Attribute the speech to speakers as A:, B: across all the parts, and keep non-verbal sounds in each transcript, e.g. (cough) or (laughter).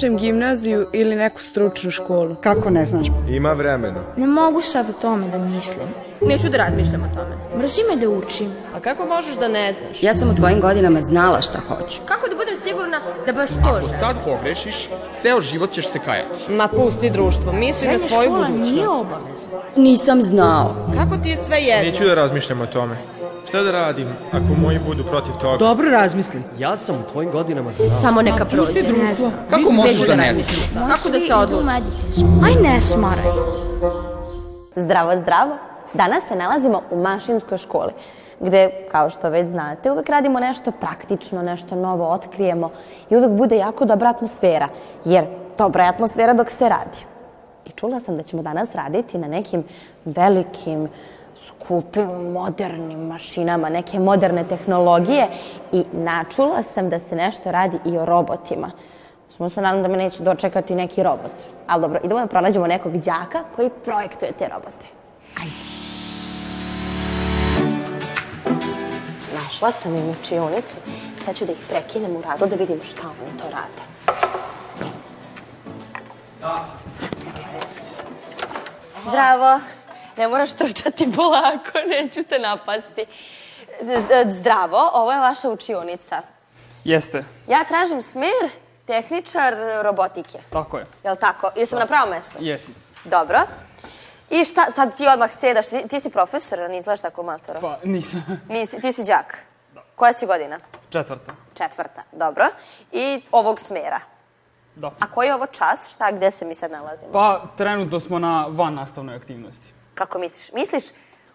A: Čem gimnaziju ili neku stručnu školu.
B: Kako ne znaš?
C: Ima vremena.
D: Ne mogu sad o tome da mislim.
E: Neću da razmišljam o tome.
D: Mrzi me da učim.
F: A kako možeš da ne znaš?
G: Ja sam u tvojim godinama znala šta hoću.
E: Kako da budem sigurna da baš to
H: Ako
E: želim?
H: sad pogrešiš, ceo život ćeš se kajati.
F: Ma pusti društvo, misli na
D: Srednja
F: svoju
D: škola nije
F: budućnost.
D: obavezna.
G: Nisam znao.
F: Kako ti je sve jedno?
I: Neću da razmišljam o tome. Šta da radim ako moji budu protiv toga?
J: Dobro razmisli.
K: Ja sam u tvojim godinama znao.
E: Samo neka prođe.
J: Ne znam.
H: Kako možeš da ne znaš?
E: Kako da se odlučim?
D: Aj ne smaraj.
L: Zdravo, zdravo. Danas se nalazimo u mašinskoj školi, gde, kao što već znate, uvek radimo nešto praktično, nešto novo otkrijemo i uvek bude jako dobra atmosfera, jer dobra je atmosfera dok se radi. I čula sam da ćemo danas raditi na nekim velikim, skupim, modernim mašinama, neke moderne tehnologije i načula sam da se nešto radi i o robotima. Samo se nadam da me neće dočekati neki robot. Ali dobro, idemo da pronađemo nekog đaka koji projektuje te robote. Ajde. Našla sam im učionicu. Sad ću da ih prekinem u radu da vidim šta oni to rade. Zdravo. Ne moraš trčati polako, (laughs) neću te napasti. Z- Zdravo, ovo je vaša učionica.
M: Jeste,
L: Ja tražim smer tehničar robotike.
M: tako je.
L: Jel tako? Jesam na pravom mestu?
M: Jesi.
L: Dobro. I šta, sad ti odmah sedaš, ti, ti si profesor, a ne izgledaš tako matora.
M: Pa nisam. (laughs)
L: Nisi, ti si đak. Koja si godina?
M: Četvrta.
L: Četvrta, dobro. I ovog smera.
M: Da.
L: A koji je ovo čas? Šta, gde se mi sad nalazimo?
M: Pa trenutno smo na van nastavnoj aktivnosti.
L: Kako misliš? Misliš,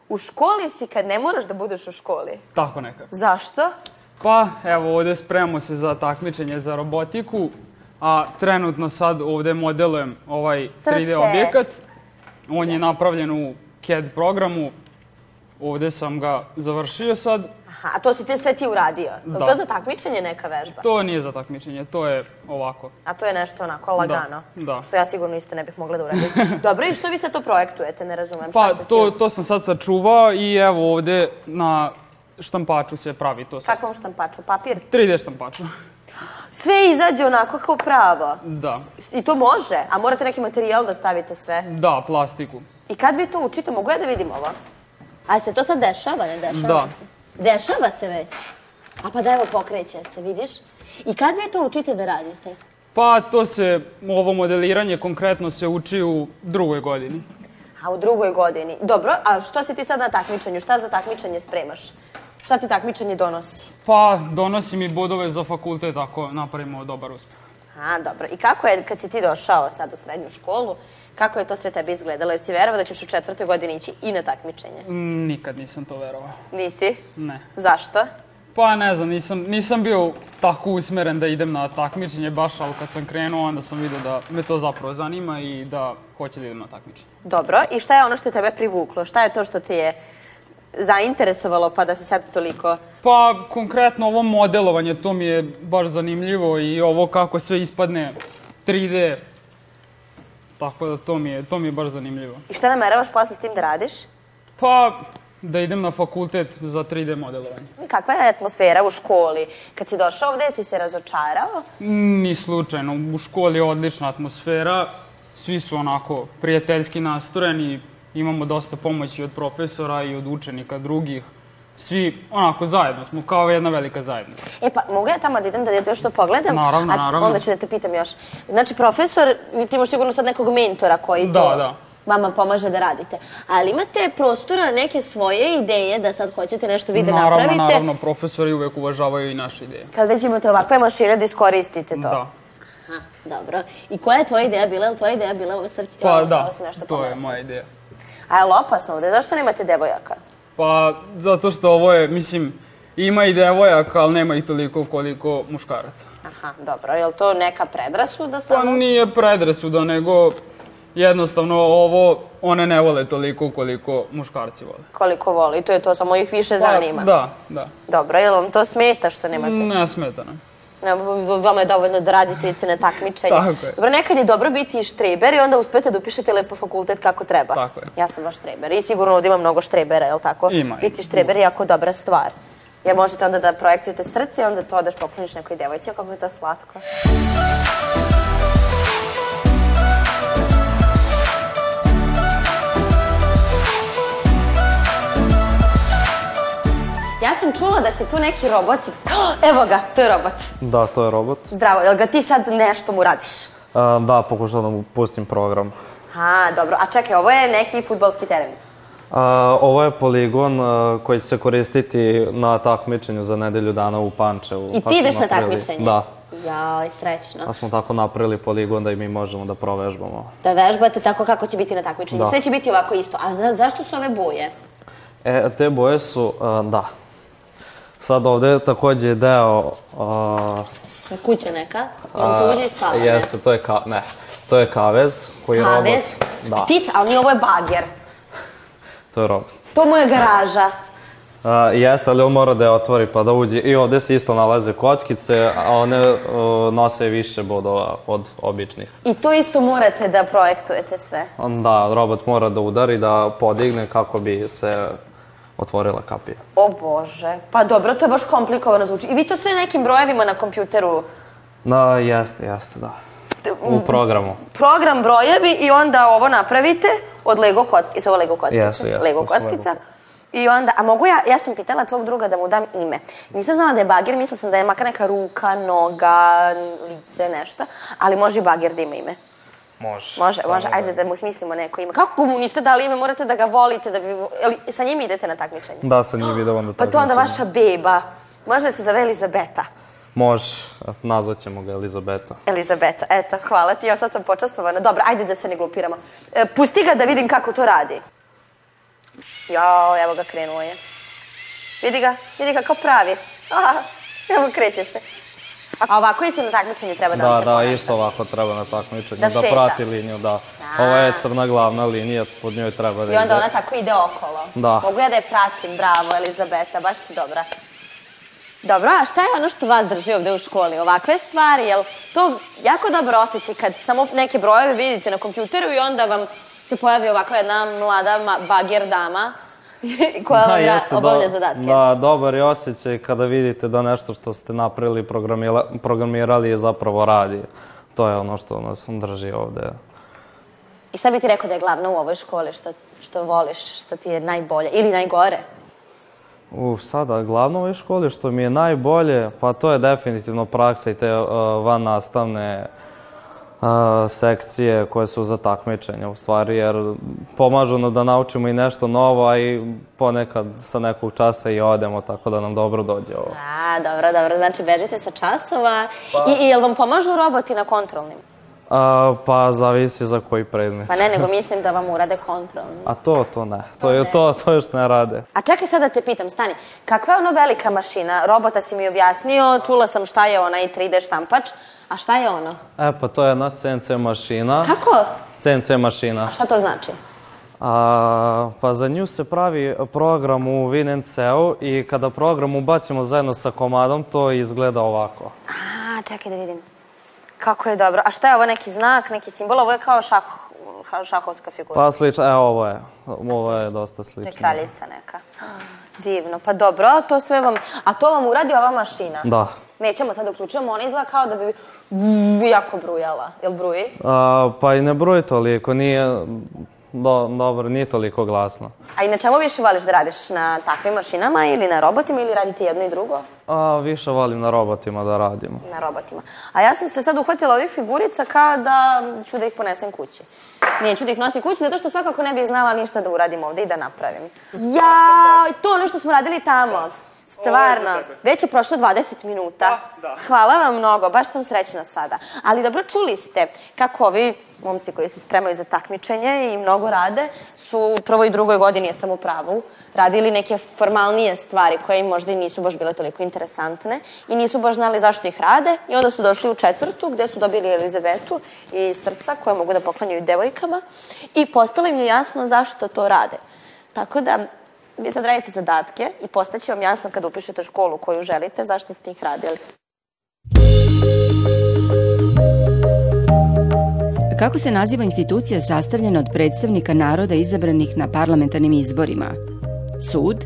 L: u školi si kad ne moraš da budeš u školi.
M: Tako nekako.
L: Zašto?
M: Pa evo ovde spremamo se za takmičenje za robotiku, a trenutno sad ovde modelujem ovaj
L: Srce.
M: 3D objekat. On je napravljen u CAD programu. Ovde sam ga završio sad.
L: Aha, a to si ti sve ti uradio. Da.
M: Da.
L: To je za takmičenje neka vežba?
M: To nije za takmičenje, to je ovako.
L: A to je nešto onako lagano.
M: da.
L: Što ja sigurno isto ne bih mogla da
M: (laughs)
L: uradim. Dobro, i što vi sad to projektujete? Ne razumem
M: Pa
L: šta se s
M: to,
L: tim...
M: to sam sad sačuvao i evo ovde na štampaču se pravi to sad.
L: Kakvom štampaču? Papir?
M: 3D štampaču.
L: Sve izađe onako kao pravo.
M: Da.
L: I to može, a morate neki materijal da stavite sve.
M: Da, plastiku.
L: I kad vi to učite, mogu ja da vidim ovo?
E: A se to sad dešava, ne dešava
M: Da.
E: se? Dešava se već. A pa da evo pokreće se, vidiš? I kad vi to učite da radite?
M: Pa to se, ovo modeliranje konkretno se uči u drugoj godini.
L: A u drugoj godini. Dobro, a što si ti sad na takmičenju? Šta za takmičenje spremaš? Šta ti takmičenje donosi?
M: Pa donosi mi bodove za fakultet ako napravimo dobar uspeh.
L: A, dobro. I kako je, kad si ti došao sad u srednju školu, kako je to sve tebi izgledalo? Jesi verovao da ćeš u četvrtoj godini ići i na takmičenje?
M: Mm, Nikad nisam to verovao.
L: Nisi?
M: Ne.
L: Zašto?
M: Pa ne znam, nisam, nisam bio tako usmeren da idem na takmičenje baš, ali kad sam krenuo onda sam vidio da me to zapravo zanima i da hoću da idem na takmičenje.
L: Dobro. I šta je ono što je tebe privuklo? Šta je to što te je zainteresovalo pa da si sad toliko...
M: Pa konkretno ovo modelovanje, to mi je baš zanimljivo i ovo kako sve ispadne 3D, tako da to mi je, to mi je baš zanimljivo.
L: I šta nameravaš posle s tim da radiš?
M: Pa, da idem na fakultet za 3D modelovanje.
L: Kakva je atmosfera u školi? Kad si došao ovde, si se razočarao?
M: Ni slučajno, u školi je odlična atmosfera, svi su onako prijateljski nastrojeni, imamo dosta pomoći od profesora i od učenika drugih. Svi onako zajedno smo, kao jedna velika zajednica.
L: E pa, mogu ja tamo da idem da još to pogledam?
M: Naravno,
L: A
M: naravno.
L: Onda ću da te pitam još. Znači, profesor, ti imaš sigurno sad nekog mentora koji to
M: Da, da.
L: vama pomaže da radite. Ali imate prostora neke svoje ideje da sad hoćete nešto vi da
M: Naravno,
L: napravite?
M: naravno, profesori uvek uvažavaju i naše ideje.
L: Kad već imate ovakve mašine da iskoristite to.
M: Da.
L: Aha, dobro. I koja je tvoja ideja bila? Je li tvoja ideja bila ovo srce?
M: Pa
L: Ovo,
M: da,
L: ovo se nešto
M: to je
L: pomesilo.
M: moja ideja.
L: A je li opasno ovde? Zašto nemate devojaka?
M: Pa, zato što ovo je, mislim, ima i devojaka, ali nema ih toliko koliko muškaraca.
L: Aha, dobro. Je li to neka predrasuda
M: Pa
L: samo?
M: nije predrasuda, nego jednostavno ovo one ne vole toliko koliko muškarci vole.
L: Koliko voli, to je to, samo ih više
M: Pa,
L: zanima.
M: Da, da.
L: Dobro, je li vam to smeta što nemate?
M: Ne smeta nam.
L: Ne, v- vama je dovoljno da radite idete na takmičenje.
M: Tako je.
L: Dobro, nekad je dobro biti i štreber i onda uspete da upišete lepo fakultet kako treba.
M: Tako je.
L: Ja sam baš štreber i sigurno ovde ima mnogo štrebera, je li tako?
M: Ima,
L: Biti
M: ima.
L: štreber je jako dobra stvar. Jer možete onda da projektujete srce i onda to odeš pokloniš nekoj devojci, O, kako je to slatko. sam čula da si tu neki robot. (gasps) Evo ga, to je robot.
M: Da, to je robot.
L: Zdravo, jel ga ti sad nešto mu radiš?
M: A, da, pokušao da mu pustim program.
L: A, dobro. A čekaj, ovo je neki futbalski teren.
M: A, ovo je poligon a, koji će se koristiti na takmičenju za nedelju dana u Pančevu.
E: I
M: Pa
E: ti
M: smo
E: ideš na
M: napravili-
E: takmičenje?
M: Da.
E: Joj, srećno.
M: Pa smo tako napravili poligon da i mi možemo da provežbamo.
E: Da vežbate tako kako će biti na takmičenju.
M: Da.
E: Sve će biti ovako isto. A za- zašto su ove boje?
M: E, te boje su, a, da. Sad ovde je takođe je deo... e, a,
E: Kuća neka. I on tu uđe i spava. ne?
M: jeste, to je ka, ne, to je kavez koji
E: Kavez?
M: robot... Da,
L: Ptica, ali nije ovo je bager.
M: to je robot.
L: To mu je garaža.
M: A, jeste, ali on mora da je otvori pa da uđe. I ovde se isto nalaze kockice, a one uh, nose više bodova od običnih.
L: I to isto morate da projektujete sve.
M: Da, robot mora da udari, da podigne kako bi se otvorila kapija.
L: O bože. Pa dobro, to je baš komplikovano zvuči. I vi to sve nekim brojevima na kompjuteru.
M: Da, jeste, jeste, da. U
L: Mhm.
M: programu.
L: Program brojevi i onda ovo napravite od Lego kockice. Su ovo Lego kockice?
M: Jeste, jeste,
L: Lego
M: to su Lego
L: kockica. I onda, a mogu ja, ja sam pitala tvog druga da mu dam ime. Nisam znala da je bagir, mislila sam da je makar neka ruka, noga, lice, nešto. Ali može i bagir da ima ime.
M: Može.
L: Može, može, ajde da mu smislimo neko ime. Kako mu niste dali ime, morate da ga volite, da bi... Jel, sa njim idete na takmičenje?
M: Da, sa njim ide onda
L: Pa to onda
M: takmičenje.
L: vaša beba. Može da se zove Elizabeta.
M: Može, nazvat ćemo ga Elizabeta.
L: Elizabeta, eto, hvala ti, ja sad sam počastovana. Dobro, ajde da se ne glupiramo. E, pusti ga da vidim kako to radi. Jao, evo ga, krenuo je. Vidi ga, vidi ga, kao pravi. Aha, evo, kreće se. A ovako isto na takmičenju treba da, vam
M: Da,
L: se
M: da,
L: ponaša.
M: isto ovako treba na takmičenju,
L: Da
M: da,
L: šeta.
M: prati liniju, da. Ovo je crna glavna linija, pod njoj treba da
L: I onda
M: ide.
L: ona tako ide okolo.
M: Da.
L: Mogu ja da je pratim, bravo, Elizabeta, baš si dobra.
E: Dobro, a šta je ono što vas drži ovde u školi? Ovakve stvari, jel to jako dobro osjećaj kad samo neke brojeve vidite na kompjuteru i onda vam se pojavi ovakva jedna mlada ma- bager dama (laughs) koja vam ra-
M: jeste,
E: obavlja
M: do-
E: zadatke.
M: Da, dobar je osjećaj kada vidite da nešto što ste napravili, programila, programirali je zapravo radi. To je ono što nas drži ovde.
E: I šta bi ti rekao da je glavno u ovoj školi što, što voliš, što ti je najbolje ili najgore?
M: U, sada, glavno u ovoj školi što mi je najbolje, pa to je definitivno praksa i te uh, van nastavne uh, sekcije koje su za takmičenje u stvari, jer pomažu nam da naučimo i nešto novo, a i ponekad sa nekog časa i odemo, tako da nam dobro dođe ovo.
E: A, dobro, dobro, znači bežite sa časova.
M: Pa.
E: I, I jel vam pomažu roboti na kontrolnim?
M: A, pa zavisi za koji predmet.
E: Pa ne, nego mislim da vam urade kontrolni.
M: A to, to ne. To, je to, to još ne rade.
E: A čekaj sad da te pitam, stani, kakva je ono velika mašina? Robota si mi objasnio, čula sam šta je onaj 3D štampač, a šta je ono?
M: E, pa to je jedna CNC mašina.
E: Kako?
M: CNC mašina.
E: Šta to znači?
M: A, pa za nju se pravi program u VinNC-u i kada program ubacimo zajedno sa komadom, to izgleda ovako.
L: A, čekaj da vidim. Kako je dobro. A šta je ovo neki znak, neki simbol? Ovo je kao šah, ha- šahovska figura.
M: Pa slično, evo ovo je. Ovo je dosta
L: To je
M: slično.
L: kraljica neka. Divno. Pa dobro, to sve vam... A to vam uradi ova mašina?
M: Da.
L: Nećemo sad da uključujemo, ona izgleda kao da bi bu- jako brujala. Jel bruji?
M: A, pa i ne bruji toliko, nije... Do, dobro, nije toliko glasno.
L: A i na čemu više voliš da radiš? Na takvim mašinama ili na robotima ili radite jedno i drugo?
M: A, više volim na robotima da radimo.
L: Na robotima. A ja sam se sad uhvatila ovih figurica kao da ću da ih ponesem kući. Neću da ih nosim kući zato što svakako ne bih znala ništa da uradim ovde i da napravim. Jao, to je ono što smo radili tamo. Stvarno, već je prošlo 20 minuta. Hvala vam mnogo, baš sam srećna sada. Ali dobro, čuli ste kako ovi momci koji se spremaju za takmičenje i mnogo rade su u prvoj i drugoj godini, ja sam u pravu, radili neke formalnije stvari koje im možda i nisu baš bile toliko interesantne i nisu baš znali zašto ih rade i onda su došli u četvrtu gde su dobili Elizabetu i srca koje mogu da poklanjaju devojkama i postalo im je jasno zašto to rade. Tako da vi sad radite zadatke i postaće vam jasno kada upišete školu koju želite, zašto ste ih radili.
G: Kako se naziva institucija sastavljena od predstavnika naroda izabranih na parlamentarnim izborima? Sud,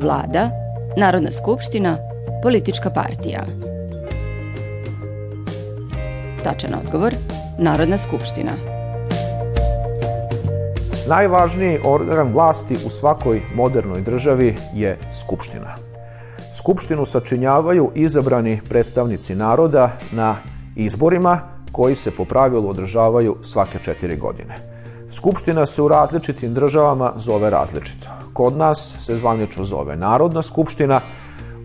G: vlada, Narodna skupština, politička partija. Tačan odgovor, Narodna skupština.
I: Najvažniji organ vlasti u svakoj modernoj državi je skupština. Skupštinu sačinjavaju izabrani predstavnici naroda na izborima koji se po pravilu održavaju svake četiri godine. Skupština se u različitim državama zove različito. Kod nas se zvanično zove Narodna skupština,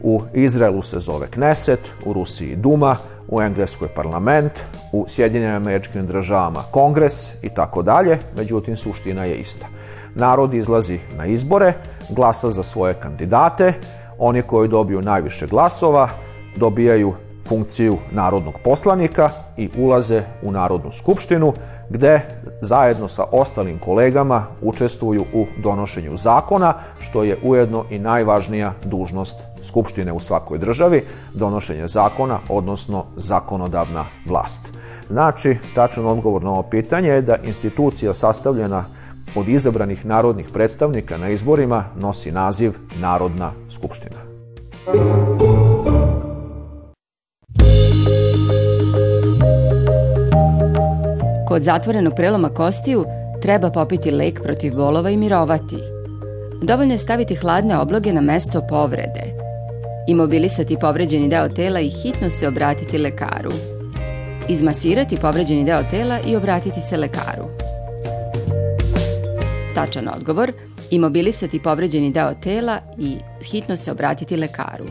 I: u Izraelu se zove Kneset, u Rusiji Duma, u Engleskoj parlament, u Sjedinjenim američkim državama kongres i tako dalje, međutim suština je ista. Narod izlazi na izbore, glasa za svoje kandidate, oni koji dobiju najviše glasova dobijaju funkciju narodnog poslanika i ulaze u Narodnu skupštinu gde zajedno sa ostalim kolegama učestvuju u donošenju zakona, što je ujedno i najvažnija dužnost Skupštine u svakoj državi, donošenje zakona, odnosno zakonodavna vlast. Znači, tačan odgovor na ovo pitanje je da institucija sastavljena od izabranih narodnih predstavnika na izborima nosi naziv Narodna skupština.
G: Kod zatvorenog preloma kostiju treba popiti lek protiv bolova i mirovati. Dovoljno je staviti hladne obloge na mesto povrede. Imobilisati povređeni deo tela i hitno se obratiti lekaru. Izmasirati povređeni deo tela i obratiti se lekaru. Tačan odgovor, imobilisati povređeni deo tela i hitno se obratiti lekaru.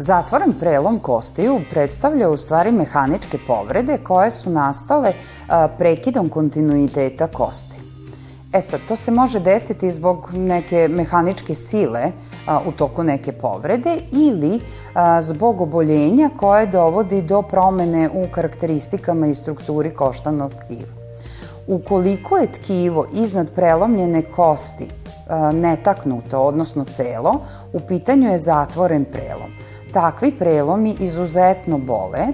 B: Zatvoren prelom kostiju predstavlja u stvari mehaničke povrede koje su nastale a, prekidom kontinuiteta kosti. E sad, to se može desiti zbog neke mehaničke sile a, u toku neke povrede ili a, zbog oboljenja koje dovodi do promene u karakteristikama i strukturi koštanog tkiva. Ukoliko je tkivo iznad prelomljene kosti a, netaknuto, odnosno celo, u pitanju je zatvoren prelom. Takvi prelomi izuzetno bole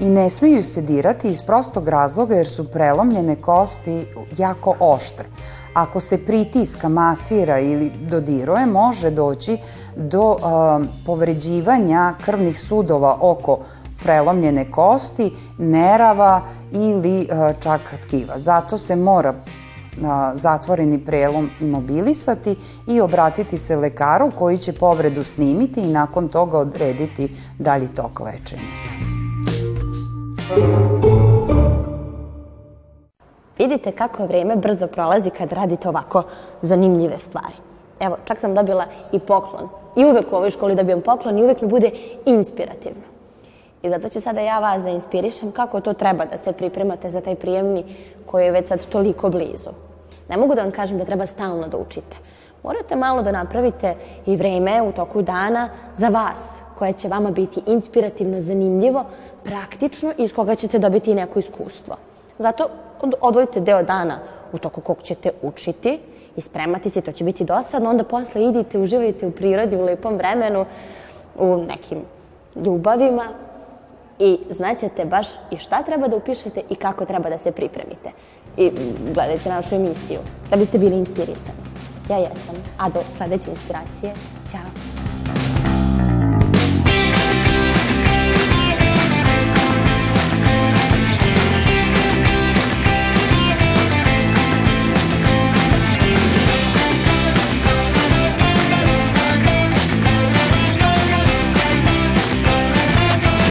B: i ne smiju se dirati iz prostog razloga jer su prelomljene kosti jako oštre. Ako se pritiska, masira ili dodiruje, može doći do a, povređivanja krvnih sudova oko prelomljene kosti, nerava ili a, čak tkiva. Zato se mora a, zatvoreni prelom imobilisati i obratiti se lekaru koji će povredu snimiti i nakon toga odrediti dalji tok lečenja.
L: Vidite kako vreme brzo prolazi kad radite ovako zanimljive stvari. Evo, čak sam dobila i poklon. I uvek u ovoj školi dobijem poklon i uvek mi bude inspirativno. I zato ću sada ja vas da inspirišem kako to treba da se pripremate za taj prijemni koji je već sad toliko blizu. Ne mogu da vam kažem da treba stalno da učite. Morate malo da napravite i vreme u toku dana za vas, koje će vama biti inspirativno, zanimljivo, praktično i iz koga ćete dobiti i neko iskustvo. Zato od- odvojite deo dana u toku kog ćete učiti i spremati se, to će biti dosadno, onda posle idite, uživajte u prirodi, u lepom vremenu, u nekim ljubavima i znaćete baš i šta treba da upišete i kako treba da se pripremite. I mm, gledajte našu emisiju da biste bili inspirisani. Ja jesam, a do sledeće inspiracije, ćao!